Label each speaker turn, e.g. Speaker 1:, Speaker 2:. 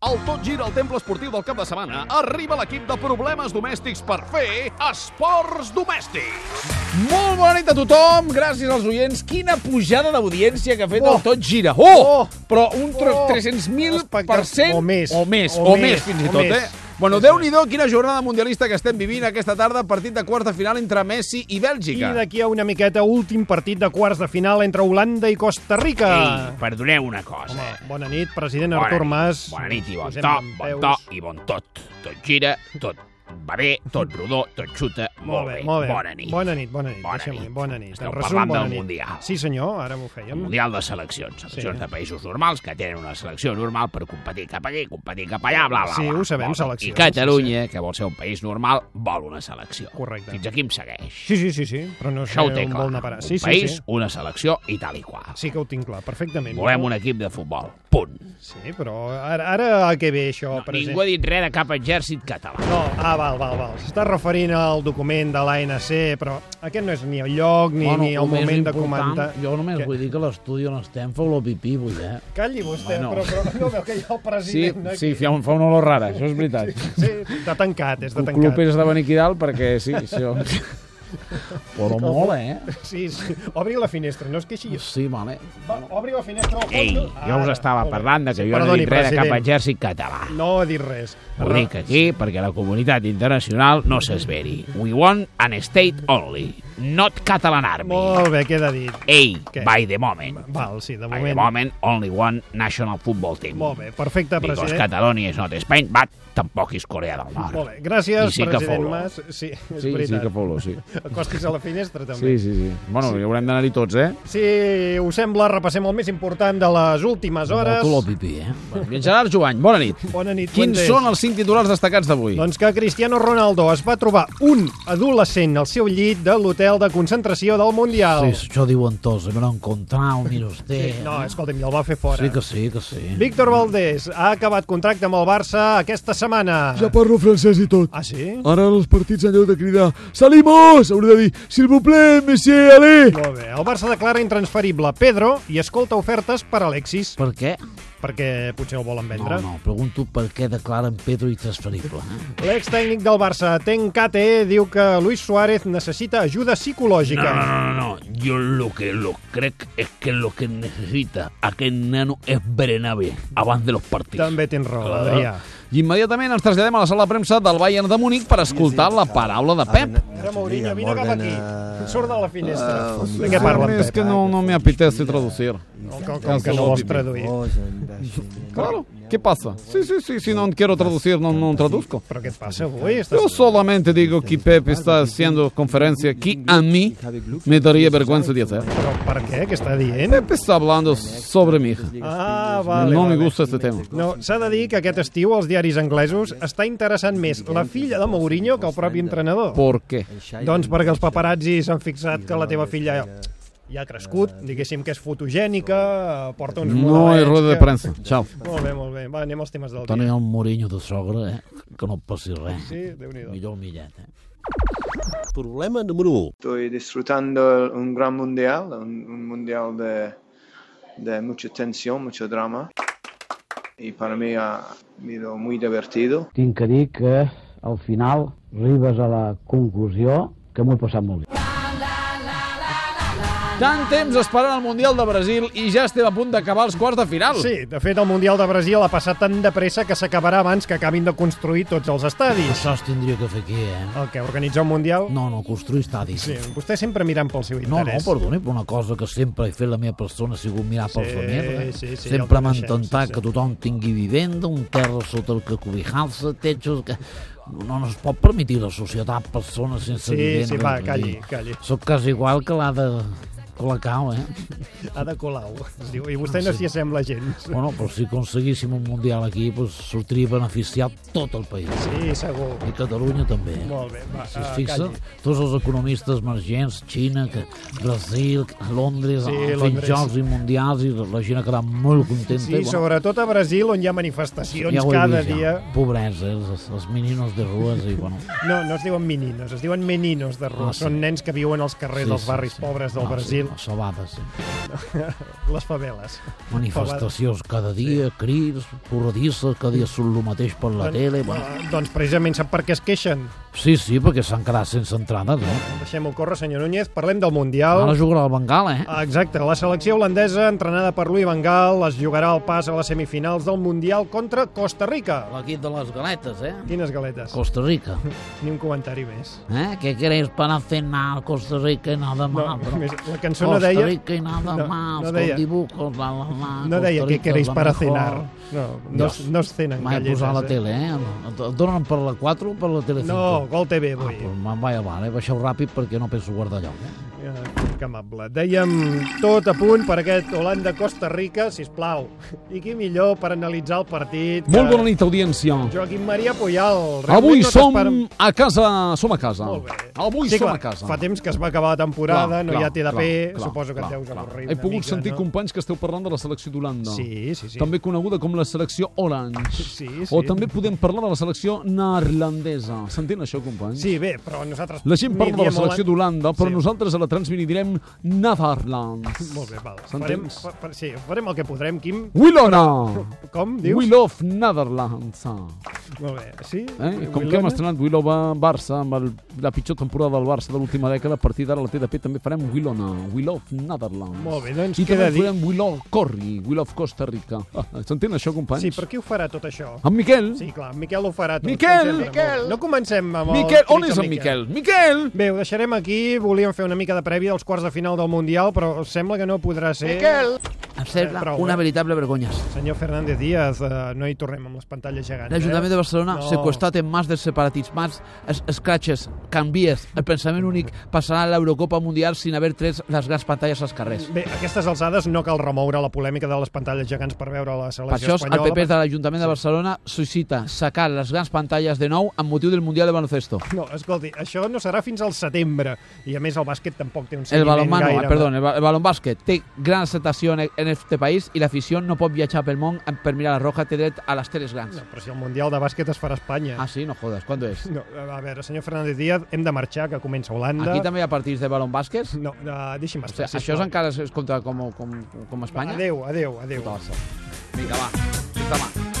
Speaker 1: Al Tot Gira al Temple Esportiu del cap de setmana arriba l'equip de problemes domèstics per fer esports domèstics.
Speaker 2: Molt bona nit a tothom, gràcies als oients. Quina pujada d'audiència que ha fet
Speaker 3: Oh.
Speaker 2: el Tot Gira. Oh!
Speaker 3: Oh.
Speaker 2: Però un tr-
Speaker 3: Oh.
Speaker 2: 300.000 per
Speaker 3: Espectac-
Speaker 2: cent.
Speaker 3: o més.
Speaker 2: O més,
Speaker 3: O
Speaker 2: o,
Speaker 3: més,
Speaker 2: més, fins i
Speaker 3: o
Speaker 2: tot,
Speaker 3: més.
Speaker 2: eh? Bueno,
Speaker 3: Sí,
Speaker 2: déu
Speaker 3: sí.
Speaker 2: nhi quina jornada mundialista que estem vivint aquesta tarda, partit de quarta final entre Messi i
Speaker 3: I
Speaker 2: Bèlgica.
Speaker 3: d'aquí a una miqueta, últim partit de quarts de final entre Holanda i Costa Rica.
Speaker 4: Ei, perdoneu una cosa.
Speaker 3: Home,
Speaker 4: Home,
Speaker 3: bona nit, president
Speaker 4: bona
Speaker 3: Artur
Speaker 4: nit,
Speaker 3: Mas.
Speaker 4: Bona nit i bon
Speaker 3: Posem
Speaker 4: to, bon
Speaker 3: dempeus.
Speaker 4: to i bon tot. Tot gira, tot va bé, tot rodó, tot xuta. Molt, bé,
Speaker 3: molt bé.
Speaker 4: Bona nit.
Speaker 3: Bona nit, bona nit.
Speaker 4: Bona
Speaker 3: Deixem-ho
Speaker 4: nit.
Speaker 3: dir, Bona nit.
Speaker 4: Esteu
Speaker 3: En resum,
Speaker 4: parlant
Speaker 3: bona
Speaker 4: del
Speaker 3: nit.
Speaker 4: Mundial.
Speaker 3: Sí, senyor, ara m'ho fèiem.
Speaker 4: El Mundial de Seleccions. Seleccions
Speaker 3: Sí.
Speaker 4: de països normals que tenen una selecció normal per competir cap aquí, competir cap allà, bla, bla,
Speaker 3: Sí,
Speaker 4: bla.
Speaker 3: ho sabem,
Speaker 4: Molt bé.
Speaker 3: seleccions,
Speaker 4: I Catalunya, que vol ser un país normal, vol una selecció.
Speaker 3: Correcte.
Speaker 4: Fins aquí em segueix.
Speaker 3: Sí, sí, sí, sí, però no sé
Speaker 4: Això ho té
Speaker 3: on
Speaker 4: clar.
Speaker 3: vol anar a parar. Sí,
Speaker 4: un
Speaker 3: sí,
Speaker 4: país,
Speaker 3: sí.
Speaker 4: una selecció i tal i qual.
Speaker 3: Sí que ho tinc clar, perfectament.
Speaker 4: Volem un equip de futbol. Punt.
Speaker 3: Sí, però ara, ara a què ve això,
Speaker 4: No,
Speaker 3: president?
Speaker 4: ningú ha dit res de cap exèrcit català.
Speaker 3: No, ah, val, val, val. S'està referint al document de l'ANC, però aquest no és ni el lloc ni, ni el
Speaker 5: el més
Speaker 3: moment de
Speaker 5: important,
Speaker 3: comentar...
Speaker 5: Jo només
Speaker 3: Que-
Speaker 5: que... vull dir que l'estudi on estem fa olor a pipí, vull, eh?
Speaker 3: Calli vostè,
Speaker 5: Home, no.
Speaker 3: però, però no veu que hi ha el president aquí.
Speaker 5: fa, un, fa una olor rara, això és veritat.
Speaker 3: Sí, està tancat, està tancat.
Speaker 5: és de Beniquidal perquè sí, això... Però molt, eh?
Speaker 3: Sí, sí. Obri la finestra, no es queixi.
Speaker 5: Sí, vale.
Speaker 3: Va, obri la finestra al fons.
Speaker 4: Ei, jo us
Speaker 3: Ara,
Speaker 4: estava
Speaker 3: molt bé.
Speaker 4: parlant de que jo no
Speaker 3: Ah, Perdoni,
Speaker 4: dic res de cap
Speaker 3: president.
Speaker 4: exèrcit català.
Speaker 3: No ha dit res.
Speaker 4: Ho dic aquí perquè la comunitat internacional no s'esveri. We want an state only, not Catalan army.
Speaker 3: Molt bé, queda dit.
Speaker 4: Ei,
Speaker 3: Què?
Speaker 4: by the moment.
Speaker 3: Val, sí, de
Speaker 4: By the
Speaker 3: moment.
Speaker 4: moment, only one national football team.
Speaker 3: Molt bé, perfecte,
Speaker 4: Because
Speaker 3: president.
Speaker 4: Catalonia is not Spain, but tampoc és Corea del Nord.
Speaker 3: Molt bé, gràcies,
Speaker 4: I sí que
Speaker 3: president
Speaker 4: fou.
Speaker 3: Mas. Sí, és veritat.
Speaker 5: fa olor, sí.
Speaker 3: Acostis a la finestra,
Speaker 5: sí,
Speaker 3: també.
Speaker 5: sí. Bueno, sí. haurem d'anar-hi tots, eh?
Speaker 3: Si us sembla, repassem el més important de les últimes
Speaker 5: Molt olor a
Speaker 3: hores.
Speaker 5: pipí, eh? Bien, Gerard Joany, bona nit.
Speaker 3: Bona nit,
Speaker 5: Quins
Speaker 3: Fuentes.
Speaker 5: són els cinc titulars destacats d'avui?
Speaker 3: Doncs que Cristiano Ronaldo es va trobar un adolescent al seu llit de l'hotel de concentració del Mundial.
Speaker 5: Sí, això diuen tots, me l'he encontrat, mira usted.
Speaker 3: No, escolta'm, i el va fer fora.
Speaker 5: Sí que sí, que sí.
Speaker 3: Víctor Valdés ha acabat contracte amb el Barça aquesta setmana.
Speaker 6: Ja parlo francès i tot.
Speaker 3: Ah, sí?
Speaker 6: Ara els partits, en lloc de cridar «Salimos!», hauré de dir «S'il vous plaît, monsieur, allez!».
Speaker 3: Molt bé. El Barça declara intransferible Pedro i escolta ofertes per Alexis,
Speaker 5: Per què?
Speaker 3: perquè potser el volen
Speaker 5: No,
Speaker 3: vendre.
Speaker 5: no, pregunto per què declaren Pedro intransferible. eh?
Speaker 3: L'ex tècnic del Barça, Ten Kate, diu que Luis Suárez necessita ajuda
Speaker 4: No, no,
Speaker 3: psicològica.
Speaker 4: no, no, no. Yo lo que lo crec es que lo que necesita aquel nano es berenar bé abans de los partidos.
Speaker 3: També tens raó,
Speaker 4: Ah.
Speaker 3: Adrià.
Speaker 2: I immediatament ens traslladem a la sala de premsa del Bayern de Múnich per escoltar la paraula de Pep.
Speaker 3: Ara, Mourinho, eh, vine cap aquí. Surt de la finestra.
Speaker 7: Ah,
Speaker 3: De què parla, en
Speaker 2: Es
Speaker 3: Pep? eh,
Speaker 2: que no, no me apetece traducir.
Speaker 3: Com, com que no vols traduir?
Speaker 2: Claro. ¿Qué pasa? Sí, sí, sí, si no quiero traducir, no, no traduzco.
Speaker 3: Però què et passa avui?
Speaker 2: Yo
Speaker 3: Estàs...
Speaker 2: solamente digo que Pep está haciendo conferencia que a mí me daría vergüenza de hacer.
Speaker 3: Però per què? Què està dient?
Speaker 2: Pep está hablando sobre mi hija.
Speaker 3: Ah, vale,
Speaker 2: No me
Speaker 3: vale.
Speaker 2: gusta este tema.
Speaker 3: No, s'ha de dir que aquest estiu els diaris anglesos està interessant més la filla de Mourinho que el propi entrenador.
Speaker 2: ¿Por qué?
Speaker 3: Doncs perquè els paparazzi s'han fixat que la teva filla ja ha crescut, diguéssim que és fotogènica, eh, porta uns
Speaker 2: No hay
Speaker 3: modelets
Speaker 2: rueda de
Speaker 3: que-
Speaker 2: prensa. Chao.
Speaker 3: Molt bé, molt bé. Va, anem als temes del
Speaker 5: Tenir
Speaker 3: dia.
Speaker 5: el Mourinho de sogre, eh? Que no et passi res.
Speaker 3: Sí, Déu-n'hi-do.
Speaker 5: Millor el millet, eh?
Speaker 8: Problema número 1.
Speaker 9: Estoy disfrutando un gran mundial, un, un mundial de, de mucha tensión, mucho drama. Y para mí ha sido muy divertido.
Speaker 5: Tinc que dir que al final arribes a la conclusió que m'ho he passat molt bé.
Speaker 2: Tant temps esperant el Mundial de Brasil i ja estem a punt d'acabar els quarts de final.
Speaker 3: Sí, de fet, el Mundial de Brasil ha passat tan de pressa que s'acabarà abans que acabin de construir tots els estadis.
Speaker 5: Això es tindria que fer aquí, eh?
Speaker 3: El que organitza el Mundial...
Speaker 5: No, no, construir estadis.
Speaker 3: Sí, vostè sempre mirant pel seu
Speaker 5: No, no,
Speaker 3: interès.
Speaker 5: perdoni, però una cosa que sempre he fet la meva persona ha sigut mirar pel
Speaker 3: Sí,
Speaker 5: femer. Eh?
Speaker 3: sí, sí, ja
Speaker 5: sempre
Speaker 3: el
Speaker 5: m'ha
Speaker 3: coneixem,
Speaker 5: intentat
Speaker 3: sí, sí.
Speaker 5: que tothom tingui vivenda, un terra sota el que cobijar-se, techos... Que... No, no es pot permetir la societat persones sense
Speaker 3: Sí,
Speaker 5: vivenda.
Speaker 3: sí, va,
Speaker 5: vull
Speaker 3: calli,
Speaker 5: dir.
Speaker 3: calli.
Speaker 5: Sóc quasi igual que l'ha de Colacau, eh?
Speaker 3: Ada Colau. Es diu, I vostè no s'hi assembla gens.
Speaker 5: Bueno, però si aconseguíssim un Mundial aquí, doncs sortiria beneficiat tot el país.
Speaker 3: Sí, segur.
Speaker 5: I Catalunya també. Eh?
Speaker 3: Molt bé, va,
Speaker 5: Si es
Speaker 3: ah,
Speaker 5: fixa,
Speaker 3: calli.
Speaker 5: tots els economistes emergents, Xina, que, Brasil, que- Londres,
Speaker 3: Sí,
Speaker 5: sí, fent
Speaker 3: Londres.
Speaker 5: jocs i mundials, i la, la gent ha quedat molt contenta.
Speaker 3: Sí,
Speaker 5: i,
Speaker 3: sobretot a Brasil, on hi ha manifestacions
Speaker 5: ho he
Speaker 3: cada
Speaker 5: vist,
Speaker 3: dia.
Speaker 5: Pobresa, eh, els, els meninos de rues, i bueno...
Speaker 3: No, no es diuen meninos, es diuen meninos de rus.
Speaker 5: Ah, sí.
Speaker 3: Són nens que viuen als carrers
Speaker 5: Sí,
Speaker 3: dels
Speaker 5: sí,
Speaker 3: barris
Speaker 5: sí.
Speaker 3: pobres del
Speaker 5: Ah, sí.
Speaker 3: Brasil
Speaker 5: Les sabades.
Speaker 3: les faveles.
Speaker 5: Manifestacions cada dia, sí. crits, corredisses, cada dia surt el mateix per la
Speaker 3: Bueno,
Speaker 5: tele. Bueno,
Speaker 3: eh, doncs precisament sap per què es queixen.
Speaker 5: sí, sí, perquè s'han quedat sense entrades, no?
Speaker 3: Deixem-ho córrer, senyor Núñez. Parlem del Mundial.
Speaker 5: Ara jugarà el Bengala, eh?
Speaker 3: Ah, Exacte, la selecció holandesa, entrenada per Louis van Gaal, es jugarà el pas a les semifinals del Mundial contra Costa Rica.
Speaker 5: L'equip de les galetes, eh?
Speaker 3: Quines galetes.
Speaker 5: Costa Rica.
Speaker 3: Ni un comentari més.
Speaker 5: ¿Eh? ¿Qué queréis para cenar? Costa Rica y nada
Speaker 3: No,
Speaker 5: más. pero-
Speaker 3: més la cançó no
Speaker 5: Costa
Speaker 3: deia...
Speaker 5: Rica y nada
Speaker 3: no,
Speaker 5: más,
Speaker 3: no
Speaker 5: con
Speaker 3: deia-
Speaker 5: dibujos, la, la, la,
Speaker 3: No deia què queréis para cenar. No, no,
Speaker 5: Dios.
Speaker 3: no es cenen
Speaker 5: Vaig
Speaker 3: galletes.
Speaker 5: posar a la
Speaker 3: eh?
Speaker 5: tele, eh? Et donen per la 4 o per la tele 5?
Speaker 3: No, Gol TV
Speaker 5: Ah,
Speaker 3: avui.
Speaker 5: doncs me'n vaig avant, eh? Baixeu ràpid perquè no penso guardar lloc. Eh?
Speaker 3: Ah, que amable. Dèiem tot a punt per aquest Holanda-Costa Rica, si plau. I qui millor per analitzar el partit que
Speaker 2: Molt bona nit, audiència.
Speaker 3: Joaquim Maria Puyal. Realment
Speaker 2: Avui
Speaker 3: no
Speaker 2: som
Speaker 3: t'esperem-
Speaker 2: a casa, som a casa.
Speaker 3: Molt bé.
Speaker 2: Avui
Speaker 3: sí,
Speaker 2: som
Speaker 3: clar,
Speaker 2: a casa.
Speaker 3: Fa temps que es va acabar la temporada,
Speaker 2: Clar,
Speaker 3: no
Speaker 2: clar,
Speaker 3: hi ha TDP,
Speaker 2: clar,
Speaker 3: suposo que
Speaker 2: clar,
Speaker 3: et deus
Speaker 2: clar.
Speaker 3: avorrir
Speaker 2: He
Speaker 3: una
Speaker 2: pogut
Speaker 3: mica,
Speaker 2: sentir,
Speaker 3: no?
Speaker 2: companys, que esteu parlant de la selecció d'Holanda.
Speaker 3: Sí, sí, sí.
Speaker 2: També coneguda com la selecció Orange.
Speaker 3: Sí, sí.
Speaker 2: O també podem parlar de la selecció neerlandesa. S'entén això, companys?
Speaker 3: Sí, bé, però nosaltres...
Speaker 2: La gent
Speaker 3: ni
Speaker 2: parla de la
Speaker 3: diem
Speaker 2: selecció
Speaker 3: Holan-
Speaker 2: d'Holanda, però
Speaker 3: Sí.
Speaker 2: nosaltres a la transmitirem Netherlands.
Speaker 3: Molt bé, val. Farem,
Speaker 2: S'entens?
Speaker 3: fa, fa- sí, farem el que podrem, Quim.
Speaker 2: Willona!
Speaker 3: Com, dius?
Speaker 2: We love Netherlands.
Speaker 3: Molt bé, sí?
Speaker 2: Eh? Com que
Speaker 3: Willona?
Speaker 2: hem estrenat Willova Barça amb el, la pitjor temporada del Barça de l'última dècada, a partir d'ara la TDP també farem Willona, We Love Netherlands.
Speaker 3: Molt bé, doncs
Speaker 2: I
Speaker 3: queda
Speaker 2: també
Speaker 3: dit.
Speaker 2: farem We Love Corri, We Love Costa Rica. Ah, S'entén això, companys?
Speaker 3: Sí, per qui ho farà tot això?
Speaker 2: En Miquel?
Speaker 3: Sí, clar, en Miquel ho farà tot.
Speaker 2: Ah. Miquel!
Speaker 3: com sempre.
Speaker 2: Miquel!
Speaker 3: No comencem amb el...
Speaker 2: Miquel, on
Speaker 3: crit
Speaker 2: és
Speaker 3: a
Speaker 2: en Miquel? Miquel!
Speaker 3: Bé, ho deixarem aquí. Volíem fer una mica de prèvia dels quarts de final del Mundial, però sembla que no podrà ser... Miquel!
Speaker 5: Em
Speaker 3: sembla Eh,
Speaker 5: sembla
Speaker 3: prou, una
Speaker 5: una
Speaker 3: eh?
Speaker 5: veritable vergonya.
Speaker 3: Senyor Fernández Díaz, eh, no hi tornem amb les pantalles gegants. eh?
Speaker 5: L'Ajuntament de Barcelona
Speaker 3: No.
Speaker 5: no. seqüestrat en mans dels separatismes, es, escratxes, canvies, el pensament únic passarà a l'Eurocopa Mundial sin haver tres les grans pantalles als carrers.
Speaker 3: Bé, a aquestes alçades no cal remoure la polèmica de les pantalles gegants per veure la
Speaker 5: Per
Speaker 3: selecció
Speaker 5: això el
Speaker 3: espanyola.
Speaker 5: PP de l'Ajuntament de Barcelona suscita sacar les grans pantalles de nou amb motiu del Mundial de Baloncesto.
Speaker 3: No, escolti, això no serà fins al setembre. I a més el bàsquet tampoc té un
Speaker 5: El
Speaker 3: seguiment
Speaker 5: balonmano,
Speaker 3: gaire...
Speaker 5: eh, perdó, el, ba- el balonbàsquet té gran acceptació en, en este país i l'afició no pot viatjar pel món en- per mirar la roja, té dret a les teles grans.
Speaker 3: No, però si el Mundial de Bàsquet es farà a Espanya.
Speaker 5: Ah, sí? No jodes, quan és?
Speaker 3: No, a veure, senyor Fernández Díaz, hem de marxar, que comença Holanda.
Speaker 5: Aquí també hi ha partits de balonbàsquet?
Speaker 3: No, no deixi'm
Speaker 5: O sigui,
Speaker 3: estar.
Speaker 5: això és encara es compta com, com, com Espanya?
Speaker 3: Adéu, adéu, adéu.
Speaker 5: Torça. Vinga, va. Fins demà.